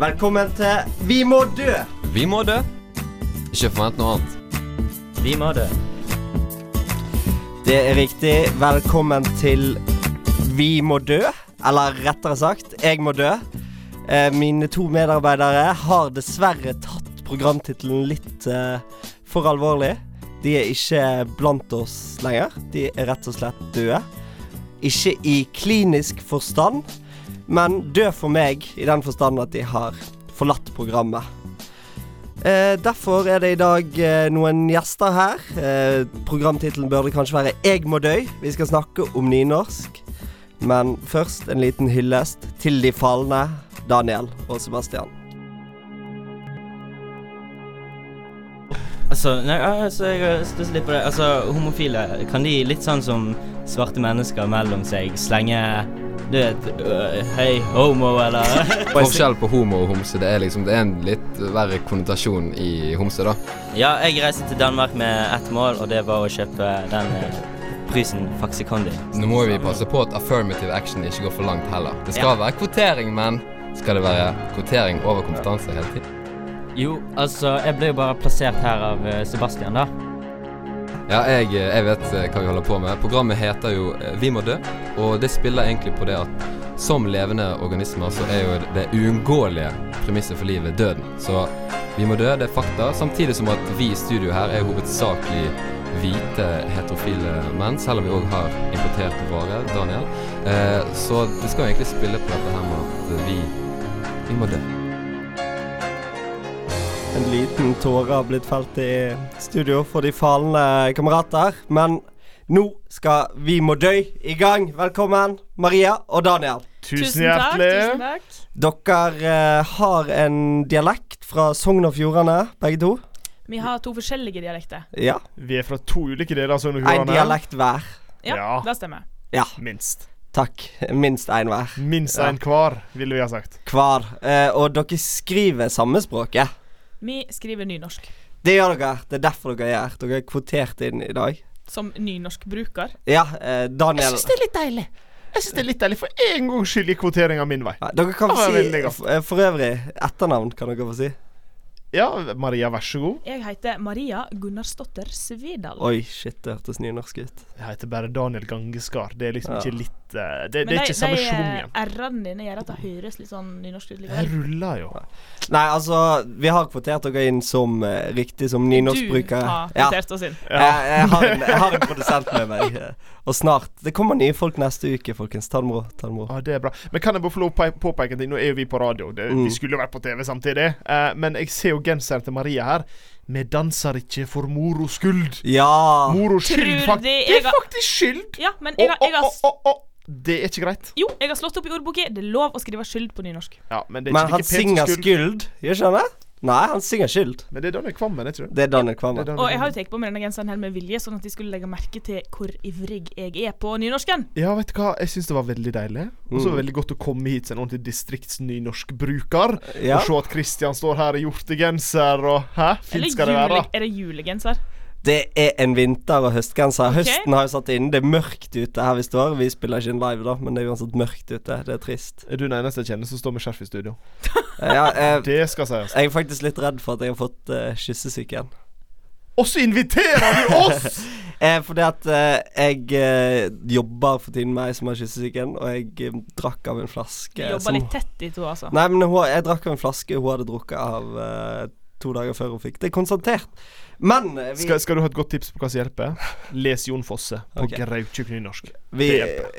Velkommen til Vi må dø! Vi må dø. Ikke forvent noe annet. Vi må dø. Det er riktig. Velkommen til Vi må dø. Eller rettere sagt, jeg må dø. Eh, Mine to medarbeidere har dessverre tatt programtittelen litt eh, for alvorlig. De er ikke blant oss lenger. De er rett og slett døde. Ikke i klinisk forstand, men død for meg i den forstand at de har forlatt programmet. Eh, derfor er det i dag eh, noen gjester her. Eh, programtittelen burde kanskje være 'Jeg må dø'. Vi skal snakke om nynorsk. Men først en liten hyllest til de falne, Daniel og Sebastian. Altså, nei, altså, jeg stusser litt på det. Altså, homofile, kan de litt sånn som svarte mennesker mellom seg slenge Du vet øh, Hei, homo, eller Forskjell på homo og homse, det er liksom Det er en litt verre konnotasjon i homse, da. Ja, jeg reiste til Danmark med ett mål, og det var å kjøpe den øh, prysen Faxikondi. Nå må vi passe på at affirmative action ikke går for langt heller. Det skal Ja. være kvotering, men skal det være kvotering over kompetanse hele tiden? Jo, altså, jeg ble jo bare plassert her av øh, eh, Sebastian, da. Ja, jeg, jeg vet eh, hva vi holder på med. Programmet heter jo eh, Vi må dø, og det spiller egentlig på det at som levende organismer så er jo det uunngåelige premisset for livet døden. Så vi må dø, det er fakta. Samtidig som at vi i studio her er hovedsakelig hvite heterofile menn, selv om vi òg har importerte varer, Daniel. Eh, så det skal jo egentlig spille på dette her med at vi, vi må dø. En liten tåre har blitt felt i studio for de falne kamerater. Men nå skal Vi må dø i gang. Velkommen, Maria og Daniel. Tusen hjertelig. Tusen takk, tusen Dere eh, har en dialekt fra Sogn og Fjordane, begge to. takk. Vi har to forskjellige dialekter. Ja. Vi er fra to ulike deler av Sogn og En Fjordane. dialekt hver. Ja, Ja. det stemmer. Ja, Minst. takk. Minst én hver. Minst Ja. en hver, ville vi ha sagt. Hver. Eh, og dere skriver samme språket. Vi skriver nynorsk Det gjør dere. Det er derfor dere er her. Dere er kvotert inn i dag. som nynorskbruker. Ja, eh, Daniel det er litt deilig. Jeg syns det er litt deilig for en gangs skyld i kvoteringa min vei. Ja, Dere kan Det var få si veldig godt. f- eh, For øvrig, etternavn kan dere få si. Ja, Maria, vær så god. Jeg heter Maria Gunnarsdotter Svedal. Oi, shit, det hørtes nynorsk ut. Jeg heter bare Daniel Gangeskar. Det er liksom Ja. ikke litt eh, Det, det Men er de, ikke samme de, eh, sjungen. r-ene dine gjør at det høres litt sånn nynorsk Jeg ut likevel. ruller jo. Nei, altså, vi har kvotert dere inn som eh, riktig som nynorskbrukere. Du har Ja. notert oss inn. Jeg, jeg, har en, jeg har en produsent med meg. eh, Og snart Det kommer nye folk neste uke, folkens. Ta det med ro. Ta det med ro. Ah, det er bra. Men kan jeg bare få lov å pe- påpeke en ting? Nå er jo vi på radio. Det, Mm. Vi skulle jo vært på TV samtidig. Eh, men jeg ser jo genseren til Maria her. Vi danser ikke for moro skyld. Ja. Moro skyld, Tror fakt de det jeg er har- faktisk skyld! Ja, men jeg, har- jeg har Å, å, å, å, å. Det er ikke greit. Jo, jeg har slått opp i ordboka. Det er lov å skrive skyld på nynorsk. Ja, men det er Men ikke han like pent synger som skyld. Skyld, gjør ikke han det? Nei, han synger Skyld. Men det er Daniel Kvammen, er ikke det? Det er Daniel Det er Kvammen. Daniel Og jeg har Kvammen. jo tatt på meg denne genseren her med vilje, sånn at de skulle legge merke til hvor ivrig jeg er på nynorsken. Ja, vet du hva, jeg syns det var veldig deilig. Mm. Og så var det veldig godt å komme hit som en ordentlig distriktsnynorskbruker. Ja. Og se at Kristian står her i hjortegenser og Hæ? Eller Fint skal det jule, være. er det julegenser? Det er en vinter- og høstgenser. Høsten har jo satt inn. Det er mørkt ute her vi står. Vi spiller ikke inn live, da, men det er uansett mørkt ute. Det er trist. Er du den eneste jeg kjenner som står med skjerf i studio? Ja, eh, Det skal sies. jeg er faktisk litt redd for at jeg har fått eh, kyssesyke igjen. Og så inviterer du oss! Eh, fordi at eh, jeg eh, jobber for tiden med ei som har kyssesyken, og jeg eh, drakk av en flaske Vi jobber som litt tett, de to, altså. Nei, men hun, jeg drakk av en flaske hun hadde drukket av eh, to dager før hun fikk det konstatert. Men eh, vi, Skal, skal du ha et godt tips på hva som hjelper? Les Jon Fosse på Ok. grautjukk nynorsk. vi,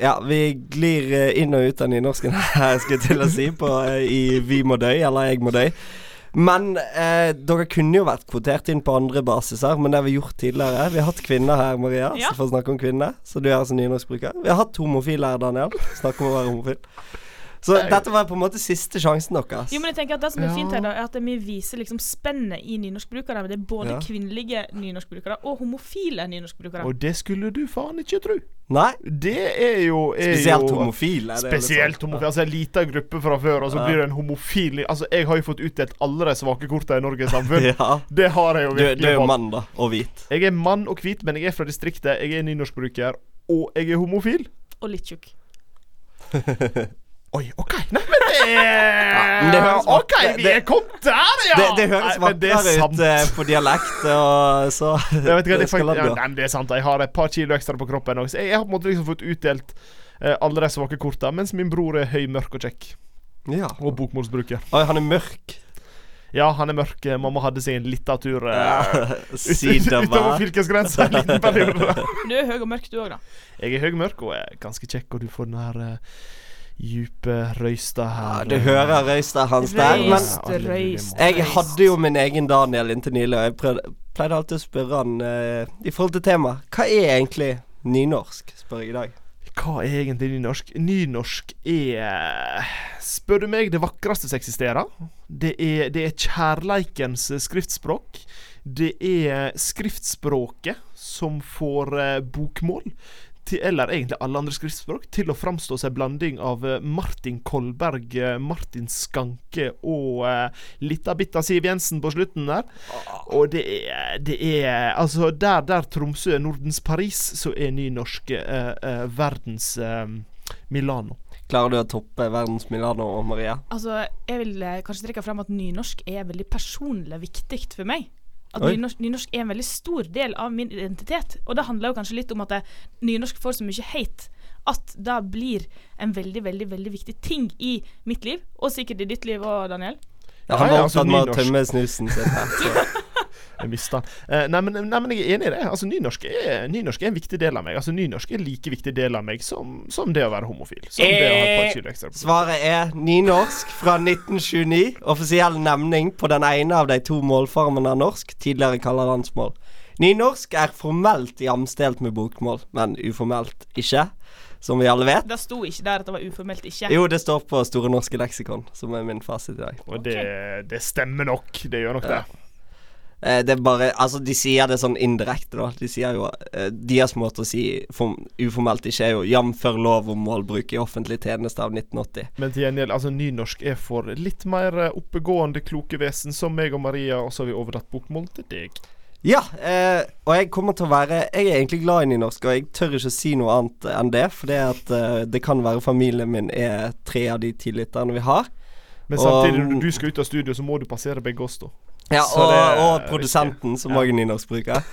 ja, vi glir eh, inn og ut av nynorsken her, skulle jeg til å si, på, eh, i 'Vi må dø' eller 'Jeg må dø'. Men eh, dere kunne jo vært kvotert inn på andre basiser, men det har vi gjort tidligere. Vi har hatt kvinner her, Maria, Ja. så for å snakke om kvinner. Så du er altså nynorskbruker. Vi har hatt homofile her, Daniel. Snakk om å være homofil. Så dette var på en måte siste sjansen deres. Jo, men jeg tenker at Det som er Ja. fint her, da, er at vi viser liksom spennet i nynorskbrukere. men Det er både Ja. kvinnelige nynorskbrukere og homofile nynorskbrukere. Og det skulle du faen ikke tro. Nei, Det er jo er spesielt jo, homofile. det er litt Spesielt sånn. homofil. Altså En liten gruppe fra før, og så Ja. blir det en homofil Altså, jeg har jo fått utdelt alle de svake korta i Norges samfunn. Ja. Det har jeg jo Du, du er virkelig jo fått. mann, da, og hvit. Jeg er mann og hvit, men jeg er fra distriktet, jeg er nynorskbruker, og jeg er homofil. Og litt tjukk. Oi, OK. Nei, men det men det Yeah! høres OK, vakrere- vi det- er kommet der, ja! Det, det høres Nei, men det er vakrere sant. ut eh, på dialekt, og så Jeg vet ikke, det er skal fakt- la det ja, gå. nei, men det er sant. Jeg har et par kilo ekstra på kroppen. Også. så Jeg, jeg har på en måte liksom fått utdelt eh, alle de svake korta, mens min bror er høy, mørk og kjekk. Ja. Og bokmålsbruker. Oi, han er mørk. Ja, han er mørk. eh, Mamma hadde seg en liten tur eh, Ah, ut- ut- Sidebar. utover fylkesgrensa en liten periode. Du er høy og mørk, du òg, da. Jeg er høy, mørk og er ganske kjekk, og du får den her eh, dype røysta her. Du hører røysta hans der, Altså, men Røyst, røyst. Jeg hadde jo min egen Daniel inntil nylig, og jeg prøvde, pleide alltid å spørre han eh, i forhold til tema Hva er egentlig nynorsk, spør jeg i dag. Hva er egentlig nynorsk? Nynorsk er Spør du meg det vakreste som eksisterer. Det er, det er kjærleikens skriftspråk. Det er skriftspråket som får eh, bokmål, til, eller egentlig alle andre skriftspråk, til å framstå som en blanding av eh, Martin Kolberg, eh, Martin Skanke og eh, lita bitta Siv Jensen på slutten der. Og det er, det er Altså, der der Tromsø er Nordens Paris, så er nynorsk eh, eh, verdens eh, Milano. Klarer du å toppe verdens Milano og Maria? Altså, jeg vil eh, kanskje trekke frem at nynorsk er veldig personlig viktig for meg. At Oi. nynorsk, nynorsk er en veldig stor del av min identitet. Og det handler jo kanskje litt om at eh, nynorsk får så mye hate at det blir en veldig, veldig veldig viktig ting i mitt liv, og sikkert i ditt liv òg, Daniel. Ja, han ja, var altså opptatt med å nynorsk. tømme snusen sin. her, så- Jeg mista den. Eh, nei, men, nei, men jeg er enig i det. Altså, nynorsk er, nynorsk er en viktig del av meg. Altså, Nynorsk er en like viktig del av meg som, som det å være homofil. Som det å ha et par kilo ekstra på. Svaret er nynorsk fra 1929. Offisiell nemning på den ene av de to målformene av norsk, tidligere kalt landsmål. Nynorsk er formelt jamstelt med bokmål, men uformelt ikke, som vi alle vet. Det sto ikke der at det var uformelt ikke. Jo, det står på Store norske leksikon, som er min fasit i dag. Og det, det stemmer nok. Det gjør nok det. Eh, Det er bare Altså, de sier det sånn indirekte, da. De sier jo eh, Deres måte å si form, uformelt ikke er jo jamfør lov om målbruk i offentlig tjeneste av 1980. Men til gjengjeld, altså nynorsk er for litt mer eh, oppegående, kloke vesen som meg og Maria, og så har vi overlatt bokmål til deg. Ja, eh, og jeg kommer til å være Jeg er egentlig glad i nynorsk, og jeg tør ikke å si noe annet enn det, for det, at, eh, det kan være familien min er tre av de ti lytterne vi har. Men samtidig, Og- når du skal ut av studio, så må du passere begge oss, da. Ja, Så og, det er og produsenten, som Ja. òg er nynorskbruker.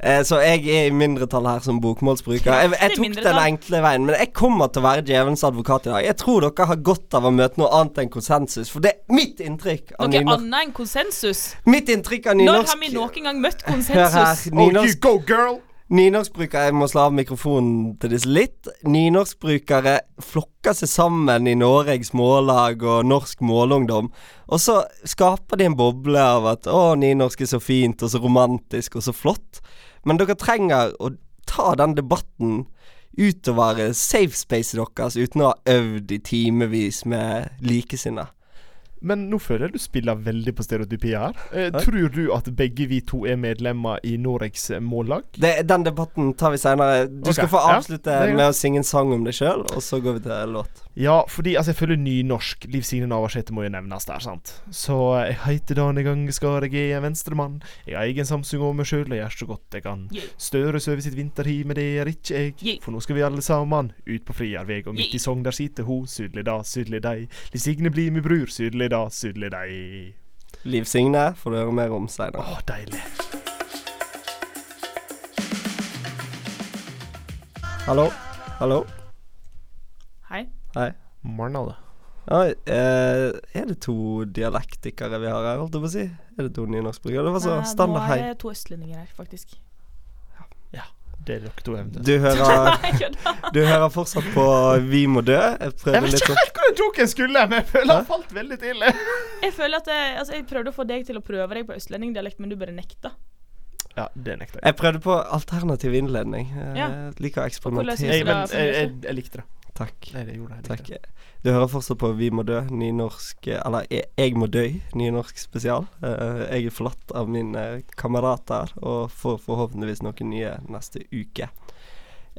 Eh, så jeg er i mindretall her som bokmålsbruker. Jeg, jeg tok den Mindretall. enkle veien, men jeg kommer til å være djevelens advokat i dag. Jeg tror dere har godt av å møte noe annet enn konsensus, for det er mitt inntrykk av Noe nynorsk. annet enn konsensus. Mitt inntrykk av Når har vi nynorsk noen gang møtt Hør her. konsensus? Oh, you Nynorsk, go, girl! nynorskbrukere Jeg må slå av mikrofonen til disse litt. Nynorskbrukere flokker seg sammen i Noregs Mållag og Norsk Målungdom, og så skaper de en boble av at å, nynorsk er så fint og så romantisk og så flott. Men dere trenger å ta den debatten utover safe space deres uten å ha øvd i timevis med likesinnede. Men nå føler jeg du spiller veldig på stereotypi her. Eh, tror du at begge vi to er medlemmer i Noregs mållag? Det, den debatten tar vi seinere. Du skal Ok, få ja, avslutte det er greit. med å synge en sang om deg sjøl, og så går vi til låt. Ja, fordi altså, jeg føler nynorsk. Liv Signe Navarsete må jo nevnes der, sant? Så eh, jeg heiter Dane Gangeskar, jeg er en venstremann. Jeg har egen Samsung og meg sjøl, og gjør så godt jeg kan. Yeah. Støre sover sitt vinterhi, men det er ikke jeg. Yeah. For nå skal vi alle saman ut på friarveg, og midt i Yeah. Sogn der sitter ho, sydlig da, sydlig dei. Liv Signe blir mi bror, sydlig da, sydlig dei. Liv Signe får du høre mer om seinere. Å, deilig. Hallo? Hallo? Hei. Hei. Morna, da. Oi, eh, er det to dialektikere vi har her, holdt jeg på å si? Er det to nynorskbrukere? Det var så Eh, standard hei. Nå er det to østlendinger her, faktisk. Det er dere to eventuelt. Du hører, Nei, kødda. du hører fortsatt på Vi må dø. Jeg Jeg prøver vet litt sånn- ikke å helt hvor den joken skulle, men jeg føler han falt veldig til. Jeg føler at jeg, altså, jeg prøvde å få deg til å prøve deg på østlendingdialekt, men du bare nekta. Ja, det nekter jeg. Jeg prøvde på alternativ innledning. Jeg Ja. liker å hvordan synes eksperimentere. du Jeg, det men, var jeg, jeg, fornøyelig? jeg likte det. Takk. Nei, det gjorde jeg. jeg Takk. likte det. Du hører fortsatt på Vi må dø, nynorsk eh, Eller Jeg, jeg må dø, nynorsk spesial. Eh, jeg er forlatt av mine eh, kamerater og får forhåpentligvis noen nye neste uke.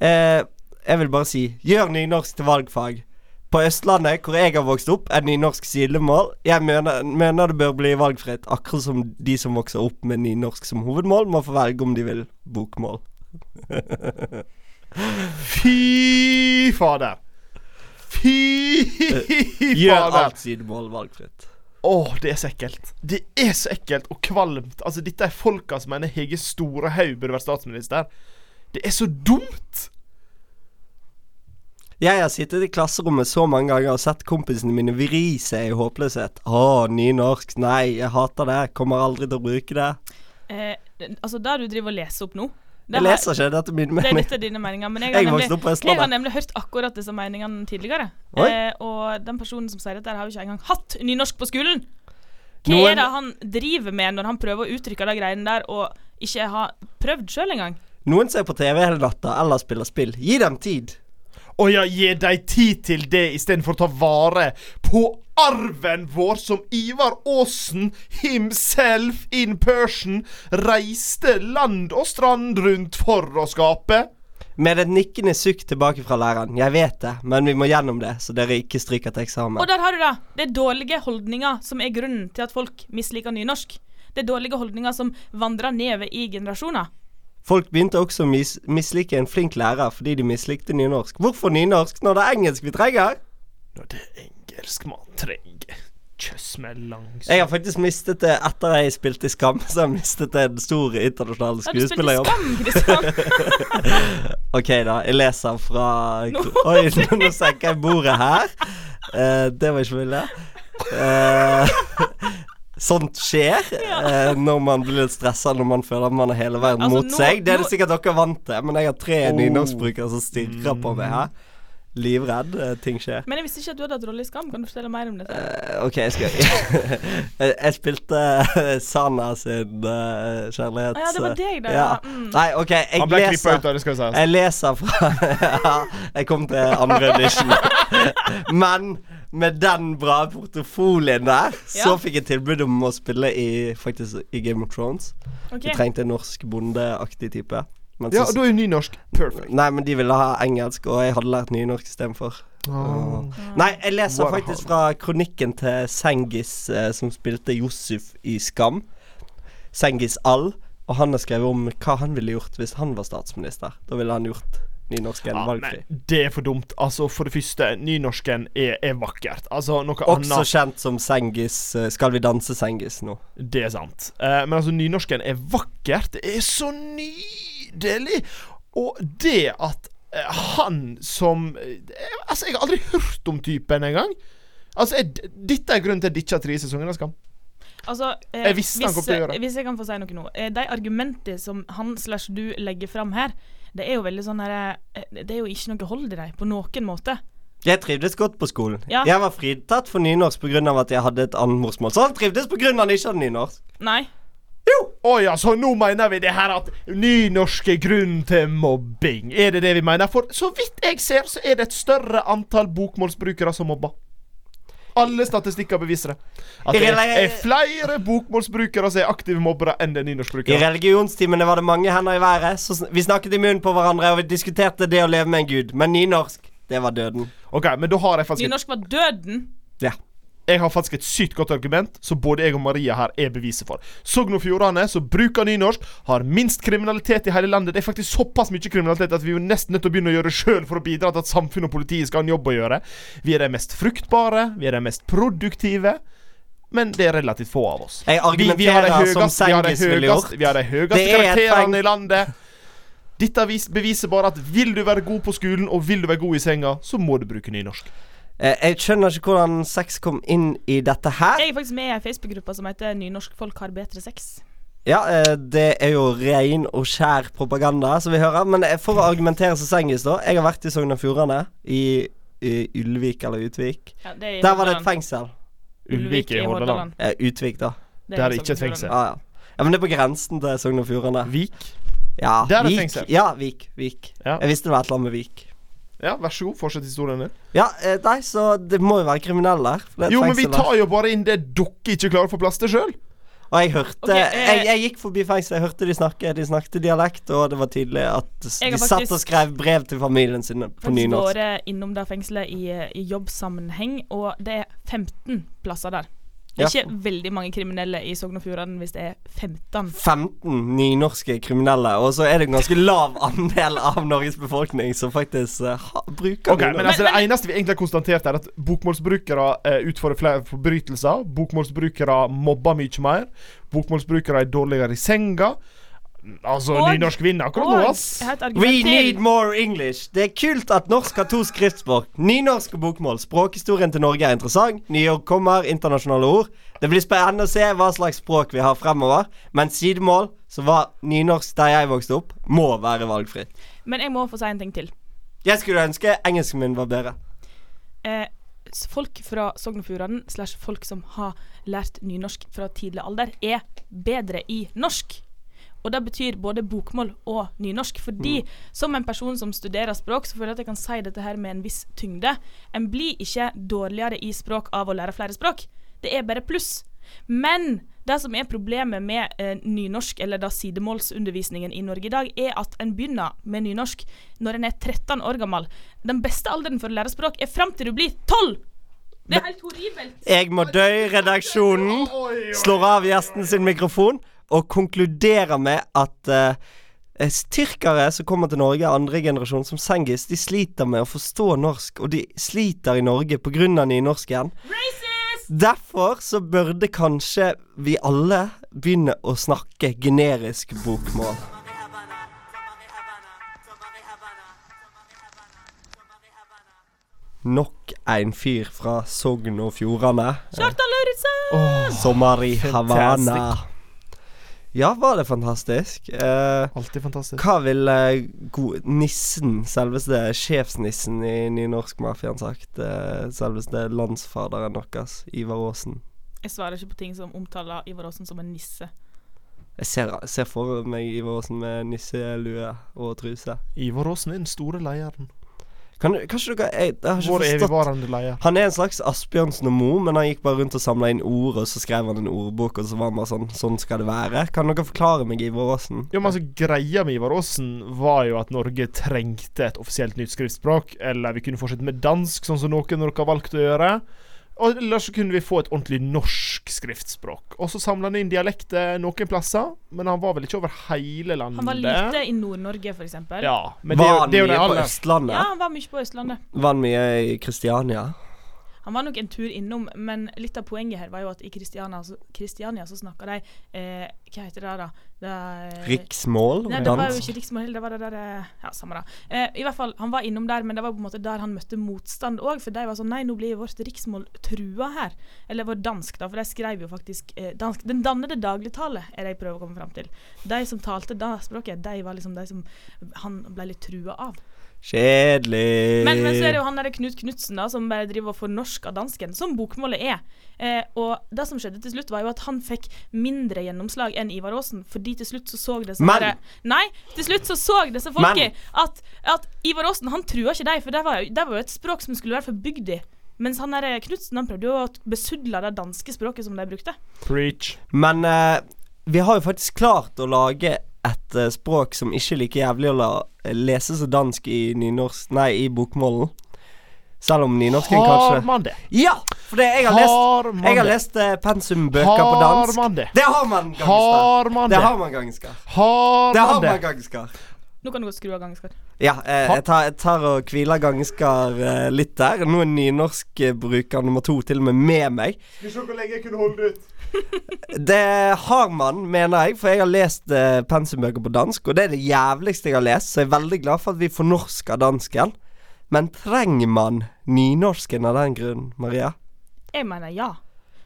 Eh, jeg vil bare si gjør nynorsk til valgfag. På Østlandet, hvor jeg har vokst opp, er nynorsk sidemål. Jeg mener, mener det bør bli valgfritt, akkurat som de som vokser opp med nynorsk som hovedmål, må få velge om de vil bokmål. Fy fader. Eh, Fy Gjør fader! alt sidemål valgfritt. Å, det er så ekkelt. Det er så ekkelt og kvalmt. Altså, dette er folka som mener Hege Storehaug burde vært statsminister. Det er så dumt! Jeg har sittet i klasserommet så mange ganger og sett kompisene mine vri seg i håpløshet. Å, nynorsk. Nei, jeg hater det. Kommer aldri til å bruke det. Eh, altså, det du driver og leser opp nå det Jeg her- leser ikke dette er min Det er mening. dette er dine meninger, men jeg har Jeg vokste nemlig opp på jeg har Østlandet. nemlig hørt akkurat disse meningene tidligere. Oi. Eh, og den personen som sier dette, her har jo ikke engang hatt nynorsk på skolen. Hva Noen- er det han driver med når han prøver å uttrykke de greiene der, og ikke har prøvd sjøl engang? Noen ser på TV hele natta eller spiller spill. Gi dem tid. Å ja, gi dem tid til det istedenfor å ta vare på arven vår som Ivar Aasen himself in person reiste land og strand rundt for å skape. Med et nikkende sukk tilbake fra læreren. Jeg vet det, men vi må gjennom det, så dere ikke stryker til Og eksamen. der har du det! Det er dårlige holdninger som er grunnen til at folk misliker nynorsk. Det er dårlige holdninger som vandrer nedover i generasjoner. Folk begynte også å mis mislike en flink lærer fordi de mislikte nynorsk. Hvorfor nynorsk når det er engelsk vi trenger? Når det er engelsk man trenger. Kjøss meg langs Jeg har faktisk mistet det etter jeg spilte i Skam. Så har jeg mistet en stor internasjonal Ja, du spilte skuespillerjobb. Skam, Kristian. Ok, da. Jeg leser fra Nå- Oi, nå nå senker jeg bordet her. Eh, det var ikke mulig. Eh, sånt skjer eh, når man blir litt stressa når man føler at man har hele verden Altså, mot nå- seg. Det er det nå- sikkert dere vant til, men jeg har tre Oh. nynorskbrukere som stirrer på meg her. Livredd. eh, ting skjer. Men jeg visste ikke at du hadde hatt rolle i Skam. Kan du fortelle mer om dette? Eh, OK, jeg skal Jeg jeg spilte eh, Sana sin uh, kjærlighets... Å ja, det var deg, da. ja. Ja. Mm. Nei, OK, jeg Han ble klippa leser ut av det, skal jeg si. Jeg leser fra Ja, jeg kom til andre audition. Men med den bra portefolien der, så Ja. fikk jeg tilbud om å spille i, faktisk, i Game of Thrones. Ok. De trengte en norsk bondeaktig type. Men Ja, så- og da er jo nynorsk perfect. Nei, men de ville ha engelsk, og jeg hadde lært nynorsk istedenfor. Ah. Nei, jeg leser Wow. faktisk fra kronikken til Sengis, eh, som spilte Josef i Skam. Sengis All. Og han har skrevet om hva han ville gjort hvis han var statsminister. Da ville han gjort nynorsken Ja, valgfri. Ah, nei, det er for dumt. Altså, for det første, nynorsken er, er vakkert. Altså, noe Også annet kjent som Sengis eh, Skal vi danse Sengis nå? Det er sant. Eh, men altså, nynorsken er vakkert. Det er så nydelig! Og det at eh, han som eh, Altså, jeg har aldri hørt om typen engang. Altså, jeg, dette er grunnen til at jeg ditcha tredje sesongen av Skam. Altså, eh, Jeg visste han hvis, kom til å gjøre det. Hvis jeg kan få si noe nå. Eh, de argumentene som han slash du legger fram her, det er jo veldig sånn herre eh, Det er jo ikke noe hold i dem på noen måte. Jeg trivdes godt på skolen. Ja. Jeg var fritatt for nynorsk pga. at jeg hadde et annet morsmål. Så han trivdes pga. at han ikke hadde nynorsk. Nei. Å ja, så nå mener vi det her at nynorsk er grunnen til mobbing. Er det det vi mener? For så vidt jeg ser, så er det et større antall bokmålsbrukere som mobber. Alle statistikker beviser det. At det er flere bokmålsbrukere som er aktive mobbere enn det er I nynorskbrukere. religionstimene var det mange hender i været. Så sn- vi snakket i munnen på hverandre, og vi diskuterte det å leve med en gud. Men nynorsk, det var døden. Ok, men da har jeg faktisk et, Nynorsk var døden. Ja. jeg har faktisk et sykt godt argument som både jeg og Maria her er beviset for. Sogn og Fjordane, som bruker nynorsk, har minst kriminalitet i hele landet. Det er faktisk såpass mye kriminalitet at vi er jo nesten nødt til å begynne å gjøre det sjøl for å bidra til at samfunnet og politiet skal ha en jobb å gjøre. Vi er de mest fruktbare, vi er de mest produktive. Men det er relativt få av oss. Jeg Vi, vi har de argumenterer som høyeste, vi har de Sengis ville gjort. høyeste, vi har de høyeste Det er et poeng. karakterene i landet. Dette vis- beviser bare at vil du være god på skolen, og vil du være god i senga, så må du bruke nynorsk. Eh, Jeg skjønner ikke hvordan sex kom inn i dette her. Jeg er faktisk med i ei Facebook-gruppe som heter 'Nynorskfolk har bedre sex'. Ja, eh, Det er jo ren og skjær propaganda, som vi hører. Men eh, for å argumentere som Sengis, da. Jeg har vært i Sogn og Fjordane. I, I Ulvik eller Utvik. Ja, det er i Der var det et Hordaland. fengsel. Ulvik E. i E. Hordaland. Eh, Utvik, da. Der er i ikke et Sogn og fengsel. Fjordane. Ja, ja. ja, Men det er på grensen til Sogn og Fjordane. Vik. Ja, Der er Vik. fengsel. Ja, Vik. Vik. Ja. Jeg visste det var et eller annet med Vik. Ja, vær så god, fortsett historien din. Ja, eh, nei, så det må jo være kriminelle der. for det er et Jo, men vi fengsel der. tar jo bare inn det dere ikke klarer å få plass til sjøl. Og jeg hørte Ok, eh, jeg, jeg gikk forbi fengselet, jeg hørte de snakke. De snakket dialekt, og det var tydelig at s- Jeg de har satt og faktisk- skrev brev til familien sin på faktisk nynorsk. eh, vært innom det fengselet i, i jobbsammenheng, og det er 15 plasser der. Det er ikke veldig mange kriminelle i Sogn og Fjordane hvis det er 15. 15 nynorske kriminelle, og så er det en ganske lav andel av Norges befolkning som faktisk eh, ha, bruker Ok, men nynorsk. altså Men- Det eneste vi egentlig har konstatert, er at bokmålsbrukere eh, utfører flere forbrytelser. Bokmålsbrukere mobber mye mer. Bokmålsbrukere er dårligere i senga. Altså, Og- nynorsk vinner akkurat nå, Og ass. jeg har et We argument need til. more English. Det er kult at norsk har to skriftspråk. Nynorsk og bokmål. Språkhistorien til Norge er interessant. Nye ord kommer, internasjonale ord. Det blir spennende å se hva slags språk vi har fremover. Men sidemål, som var nynorsk der jeg vokste opp, må være valgfritt. Men jeg må få si en ting til. Jeg skulle ønske engelsken min var bedre. Eh, s- folk fra Sogn og Fjordane, slash folk som har lært nynorsk fra tidlig alder, er bedre i norsk. Og det betyr både bokmål og nynorsk. Fordi som en person som studerer språk, så føler jeg at jeg kan si dette her med en viss tyngde. En blir ikke dårligere i språk av å lære flere språk. Det er bare pluss. Men det som er problemet med eh, nynorsk, eller da sidemålsundervisningen i Norge i dag, er at en begynner med nynorsk når en er 13 år gammel. Den beste alderen for å lære språk er fram til du blir 12! Det er helt horribelt. Jeg må dø, redaksjonen slår av gjesten sin mikrofon og konkluderer med at eh, eh, tyrkere som kommer til Norge, andre generasjon som Sengis, de sliter med å forstå norsk, og de sliter i Norge pga. nynorsken. Racist! Derfor så burde kanskje vi alle begynne å snakke generisk bokmål. Nok en fyr fra Sogn og Fjordane. Kjartan Lauritzen! Sommer i fantastic. Havana. Ja, var det fantastisk? Eh, Alltid fantastisk. hva ville eh, go- nissen, selveste sjefsnissen i nynorskmafiaen, sagt? Eh, selveste landsfaderen deres, Ivar Aasen. Jeg svarer ikke på ting som omtaler Ivar Aasen som en nisse. Jeg ser, ser for meg Ivar Aasen med nisselue og truse. Ivar Aasen er den store lederen. Kan, du- kanskje dere jeg, jeg har ikke Vår forstått evigvarende leder. Han er en slags Asbjørnsen og Moe, men han gikk bare rundt og samla inn ord, og så skrev han en ordbok, og så var han bare sånn Sånn skal det være. Kan dere forklare meg Ivar Aasen? Jo, men altså, Greia med Ivar Aasen var jo at Norge trengte et offisielt nytt skriftspråk. Eller vi kunne fortsette med dansk, sånn som noen av dere har valgt å gjøre. Og ellers så kunne vi få et ordentlig norsk skriftspråk. Og så samla han inn dialekter noen plasser, men han var vel ikke over hele landet. Han var lite i Nord-Norge, f.eks. Ja. Mm, Ja, men det, er var jo- han det er jo mye det på aller Østlandet? ja, han var mye på Østlandet. Var han mye i Kristiania? Han var nok en tur innom, men litt av poenget her var jo at i Kristiania så, Kristiania så snakka de eh, Hva heter det da? Det, er- Riksmål? Nei, det var jo Dans? ikke riksmål heller, det var det der eh, Ja, samme da. Eh, I hvert fall, han var innom der, men det var på en måte der han møtte motstand òg, for de var sånn Nei, nå blir vårt riksmål trua her. Eller vår dansk, da, for de skrev jo faktisk eh, dansk. Den dannede dagligtale er det jeg prøver å komme fram til. De som talte da språket, de var liksom de som han ble litt trua av. Kjedelig. Men, men så er det Eh. jo han der Knut Knutsen da, som bare driver og fornorsker dansken, som bokmålet er. Eh, og det som skjedde til slutt, var jo at han fikk mindre gjennomslag enn Ivar Aasen, fordi til slutt så så disse Men- herre- Nei, til slutt så så disse folka Men- at, at Ivar Aasen han trua ikke dem, for det var, jo- det var jo et språk som skulle være for bygda. Mens han der Knutsen han prøvde jo å besudle det danske språket som de brukte. Preach. Men eh, vi har jo faktisk klart å lage et eh, språk som ikke er like jævlig å la eh, lese som dansk i nynorsk Nei, i bokmålen. Selv om nynorsken Har kanskje man det? Ja! For det, jeg har lest, Har man jeg har det? lest eh, pensumbøker på Har dansk. man det? Det har man, Gangskar. Har man Det det? har man, Gangskar. Har Det har man man, det? Gangskar. Nå kan du godt skru av gangen, Skar. Ja, eh, jeg, tar, jeg tar og hviler Gangskar eh, litt der. Nå er nynorskbruker nummer to til og med med meg. Skal vi se hvor lenge jeg kunne holde ut. Det har man, mener jeg, for jeg har lest eh, pensumbøker på dansk, og det er det jævligste jeg har lest, så jeg er veldig glad for at vi fornorsker dansken. Men trenger man nynorsken av den grunn, Maria? Jeg mener ja.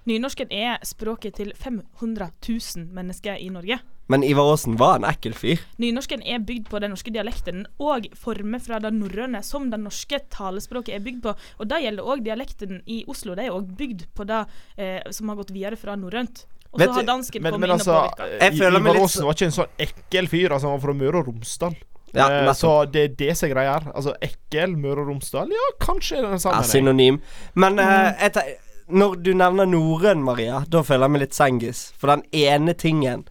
Nynorsken er språket til 500 000 mennesker i Norge. Men Ivar Aasen var en ekkel fyr. Nynorsken er bygd på den norske dialekten og former fra det norrøne som det norske talespråket er bygd på. Og det gjelder òg dialekten i Oslo. De er òg bygd på det eh, som har gått videre fra norrønt. Og Vet så du- har dansken Men, kommet men inn altså, og påvirka. Jeg I- føler meg Ivar litt Aasen var ikke en sånn ekkel fyr. Altså, han var fra Møre og Romsdal. Ja, Eh, nettopp. så det er det som er greia her. Altså, ekkel Møre og Romsdal, ja, kanskje er det den Ja, samme. synonym. Men eh, jeg tar, når du nevner norrøn, Maria, da føler jeg meg litt sengis. For den ene tingen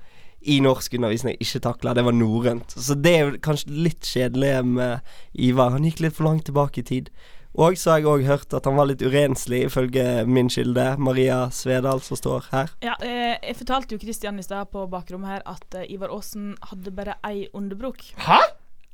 i norskundervisning jeg ikke takla, det var norrønt. Så det er jo kanskje litt kjedelig med Ivar. Han gikk litt for langt tilbake i tid. Og så har jeg òg hørt at han var litt urenslig, ifølge min kilde, Maria Svedal, som står her. Ja, eh, jeg fortalte jo Kristian i stad på bakrommet her at eh, Ivar Aasen hadde bare ei underbruk. Hæ?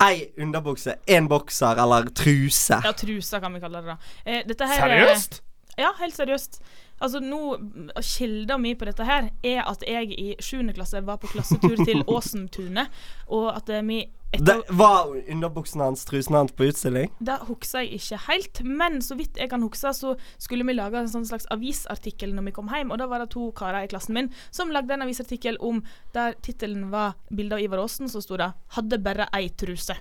Ei underbukse, én bokser eller truse. Ja, trusa kan vi kalle det, da. Eh, dette her er- Seriøst? Ja, helt seriøst. Altså, nå, m, Kilda mi på dette her er at jeg i 7. klasse var på klassetur til Åsentunet, og at eh, vi Det etter, var underbuksen hans, trusen hans, på utstilling? Det husker jeg ikke helt, men så vidt jeg kan huske, så skulle vi lage en sånn slags avisartikkel når vi kom hjem, og da var det to karer i klassen min som lagde en avisartikkel om der tittelen var 'Bilde av Ivar Aasen', så sto det 'Hadde bare ei truse'.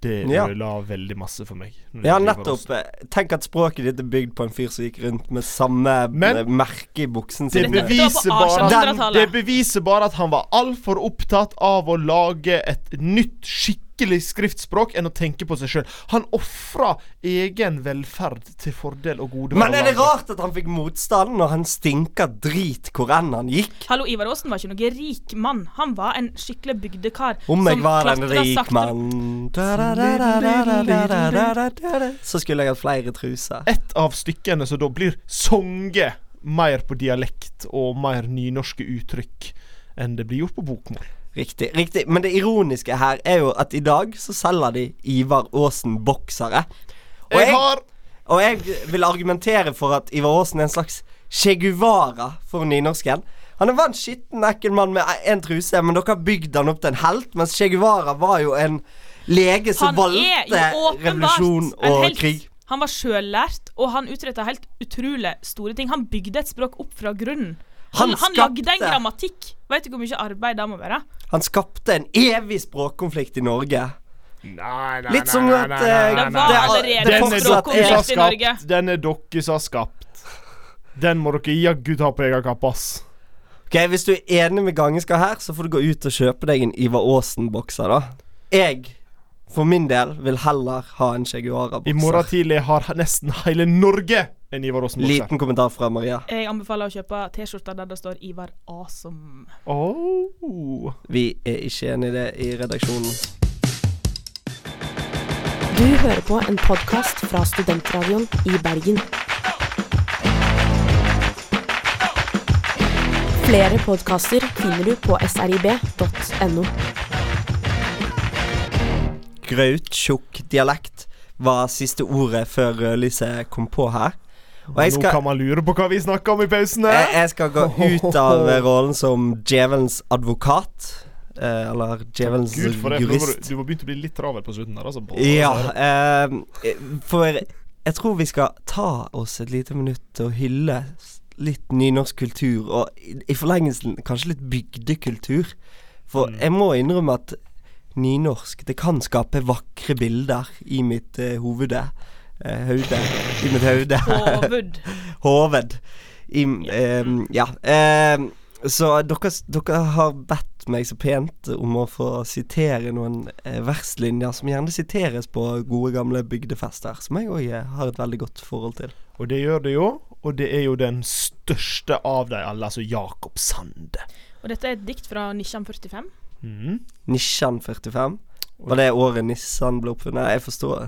Det Ja. ødela veldig masse for meg. når det Ja, gjelder Ivar nettopp. Aasen. Eh, Tenk at språket ditt er bygd på en fyr som gikk rundt med samme Men- eh, merke i buksen Det sin. Dette- bevi- beviser, dette var på bare, den, 1800-tallet. det beviser bare at han var altfor opptatt av å lage et nytt, skikkelig skriftspråk enn å tenke på seg sjøl. Han ofra egen velferd til fordel og gode Men er det landet. rart at han fikk motstand når han stinka drit hvor enn han gikk? Hallo, Ivar Aasen var ikke noen rik mann. Han var en skikkelig bygdekar. Om jeg som var en klatra rik sakte- mann da, da, da, da, da, da, da, da, da, da, da. Så skulle jeg hatt flere truser. Et av stykkene som da blir sunget mer på dialekt og mer nynorske uttrykk enn det blir gjort på bokmål. Riktig. riktig Men det ironiske her er jo at i dag så selger de Ivar Aasen-boksere. Og Jeg jeg- har Og jeg vil argumentere for at Ivar Aasen er en slags Che Guevara for nynorsken. Han var en skitten, ekkel mann med én truse, men dere har bygd han opp til en helt. Mens Che Guevara var jo en lege som Han er valgte jo åpenbart revolusjon en og helt. krig. Han var sjøllært, og han utretta helt utrolig store ting. Han bygde et språk opp fra grunnen. Han han, han skapte- lagde en grammatikk. Veit du hvor mye arbeid det må være? Han skapte en evig språkkonflikt i Norge. Nei, nei, Litt som at, eh, Det var allerede det Den er fortsatt dere er- som har språkkonflikt i Norge. skapt. Den er dere som har skapt. Den må dere jaggu ta på egen kappe, ass. Ok, Hvis du er enig med Gangeska her, så får du gå ut og kjøpe deg en Ivar Aasen-bokser, da. Jeg, for min del, vil heller ha en Che I morgen Guevara-bokser. tidlig har nesten hele Norge en Ivar Aasen-bokse. Liten kommentar fra Maria. Jeg anbefaler å kjøpe T-skjorta der det står 'Ivar Asom'. Oh. Vi er ikke enig i det i redaksjonen. Du hører på en podkast fra Studentradioen i Bergen. Flere podkaster finner du på srib.no. grauttjukk dialekt var siste ordet før rødlyset kom på her. Og jeg Nå skal, kan man lure på hva vi snakker om i pausene. jeg, jeg skal gå ut av eh, rollen som djevelens advokat. eh, eller djevelens Gud, for det, for nå var du, jurist. du var begynt å bli litt travel på slutten der, altså. Ja, eh, for jeg tror vi skal ta oss et lite minutt og hylle s- litt nynorsk kultur, og i, i forlengelsen kanskje litt bygdekultur. For jeg må innrømme at nynorsk, det kan skape vakre bilder i mitt uh, hovede. Eh, hode. I mitt hode. Hovud. Hoved. I, ehm, ja. ehm, så dere, dere har bedt meg så pent om å få sitere noen eh, verslinjer som gjerne siteres på gode, gamle bygdefester, som jeg òg har et veldig godt forhold til. Og det gjør det jo. Og det er jo den største av de alle, altså Jakob Sande. Og dette er et dikt fra 1945. Mm. Nissan 45. Var det året Nissan ble oppfunnet? Jeg forstår.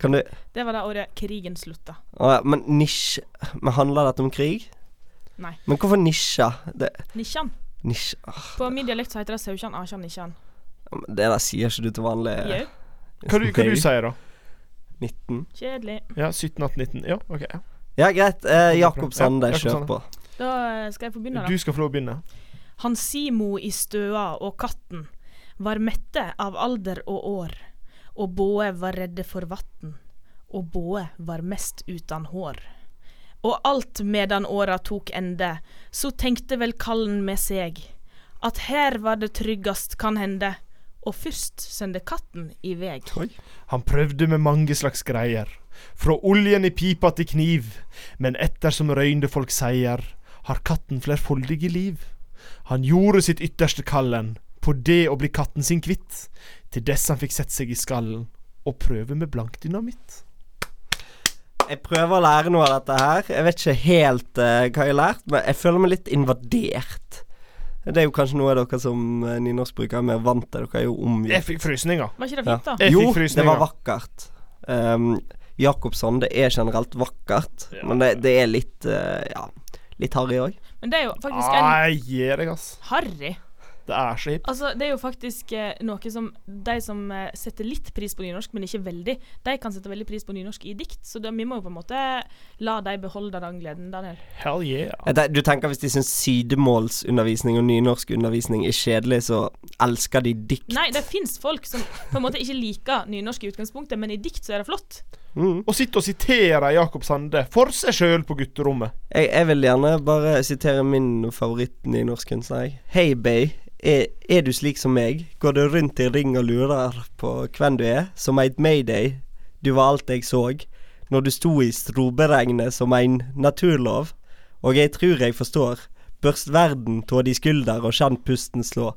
Kan du Det var det året krigen slutta. Å ja, Men nisj Men handler dette om krig? Nei. Men hvorfor nisja? Det, Nisjan. nisj, ah, På min dialekt så heter det Saukjan, Akjan, Nisjan. men det der sier ikke du til vanlig. eh, Jau, Hva, du, hva du sier da? 19. kjedelig. Ja, 17, 18, 19? Ja, OK. ja. Ja, greit. Eh, Jakob Ja, Sande, Jakob kjør Sande. på. Da eh, skal jeg få begynne, da. Du skal få lov å begynne. Han Simo i støa og katten var mette av alder og år, og båe var redde for vatn, og båe var mest utan hår. Og alt medan åra tok ende, så tenkte vel kallen med seg, at her var det tryggast kan hende, og først sende katten i veg. Han prøvde med mange slags greier, fra oljen i pipa til kniv, men ettersom røyndefolk sier, har katten flerfoldige liv. Han gjorde sitt ytterste kallen, på det å bli katten sin kvitt, til dess han fikk sett seg i skallen og prøve med blank dynamitt. Jeg prøver å lære noe av dette her. Jeg vet ikke helt eh, hva jeg har lært, men jeg føler meg litt invadert. Det er jo kanskje noe av dere som eh, nynorskbrukere er mer vant til. Dere er jo omgitt Jeg fikk frysninger. Var ikke det Ja. fint, da? Jeg Jo, fikk det var frysninger. vakkert. Um, Jacobsson. Det er generelt vakkert, Ja. men det, det er litt eh, Ja, litt harry òg. Men det er jo faktisk en Nei, gi deg, ass. harry. Det er så hipt. Altså, det er jo faktisk eh, noe som de som eh, setter litt pris på nynorsk, men ikke veldig, de kan sette veldig pris på nynorsk i dikt. Så da, vi må jo på en måte la de beholde den gleden, Daniel. Hell yeah. Eh, det- Du tenker hvis de syns sidemålsundervisning og nynorskundervisning er kjedelig, så elsker de dikt. Nei, det fins folk som på en måte ikke liker nynorsk i utgangspunktet, men i dikt så er det flott. Mm. Og sitte og sitere Jakob Sande for seg sjøl på gutterommet. Jeg, jeg vil gjerne bare sitere min favoritt nynorskkunstner. jeg. Hei, bay. Er, er du slik som meg? Går du rundt i ring og lurer på hvem du er? Som eit mayday. Du var alt jeg så. Når du sto i stroberegnet som ein naturlov. Og jeg trur jeg forstår. Børst verden tå di skulder og kjenn pusten slå.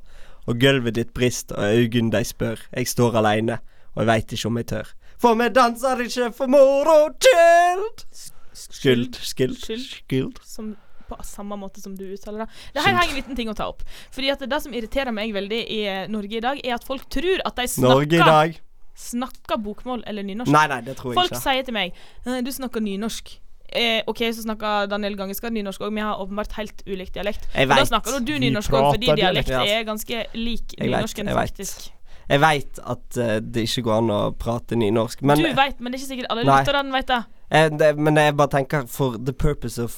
Og gulvet ditt brist og augun dei spør. Jeg står aleine og jeg veit ikke om jeg tør. For me dansar ikkje for moro skyld. Skyld, skyld, Skyld. skyld. som på samme måte som du uttaler det. Det her er en liten ting å ta opp. Fordi at Det som irriterer meg veldig i eh, Norge i dag, er at folk tror at de Norge i snakker, dag. snakker bokmål eller nynorsk. Nei, nei, det tror jeg folk ikke. sier til meg «Eh, Du snakker nynorsk. Eh, OK, så snakker Daniel Gangeskad nynorsk òg, vi har åpenbart helt ulik dialekt. Jeg Men Da vet. snakker jo du Vi nynorsk òg, fordi prater dialekt dialekt, ja. er ganske lik Jeg vet, nynorsken, jeg vet. faktisk. Jeg veit at eh, det ikke går an å prate nynorsk, men, du veit, men det er ikke sikkert alle Nei. lytterne veit det. eh, det, men jeg bare tenker for the purpose of,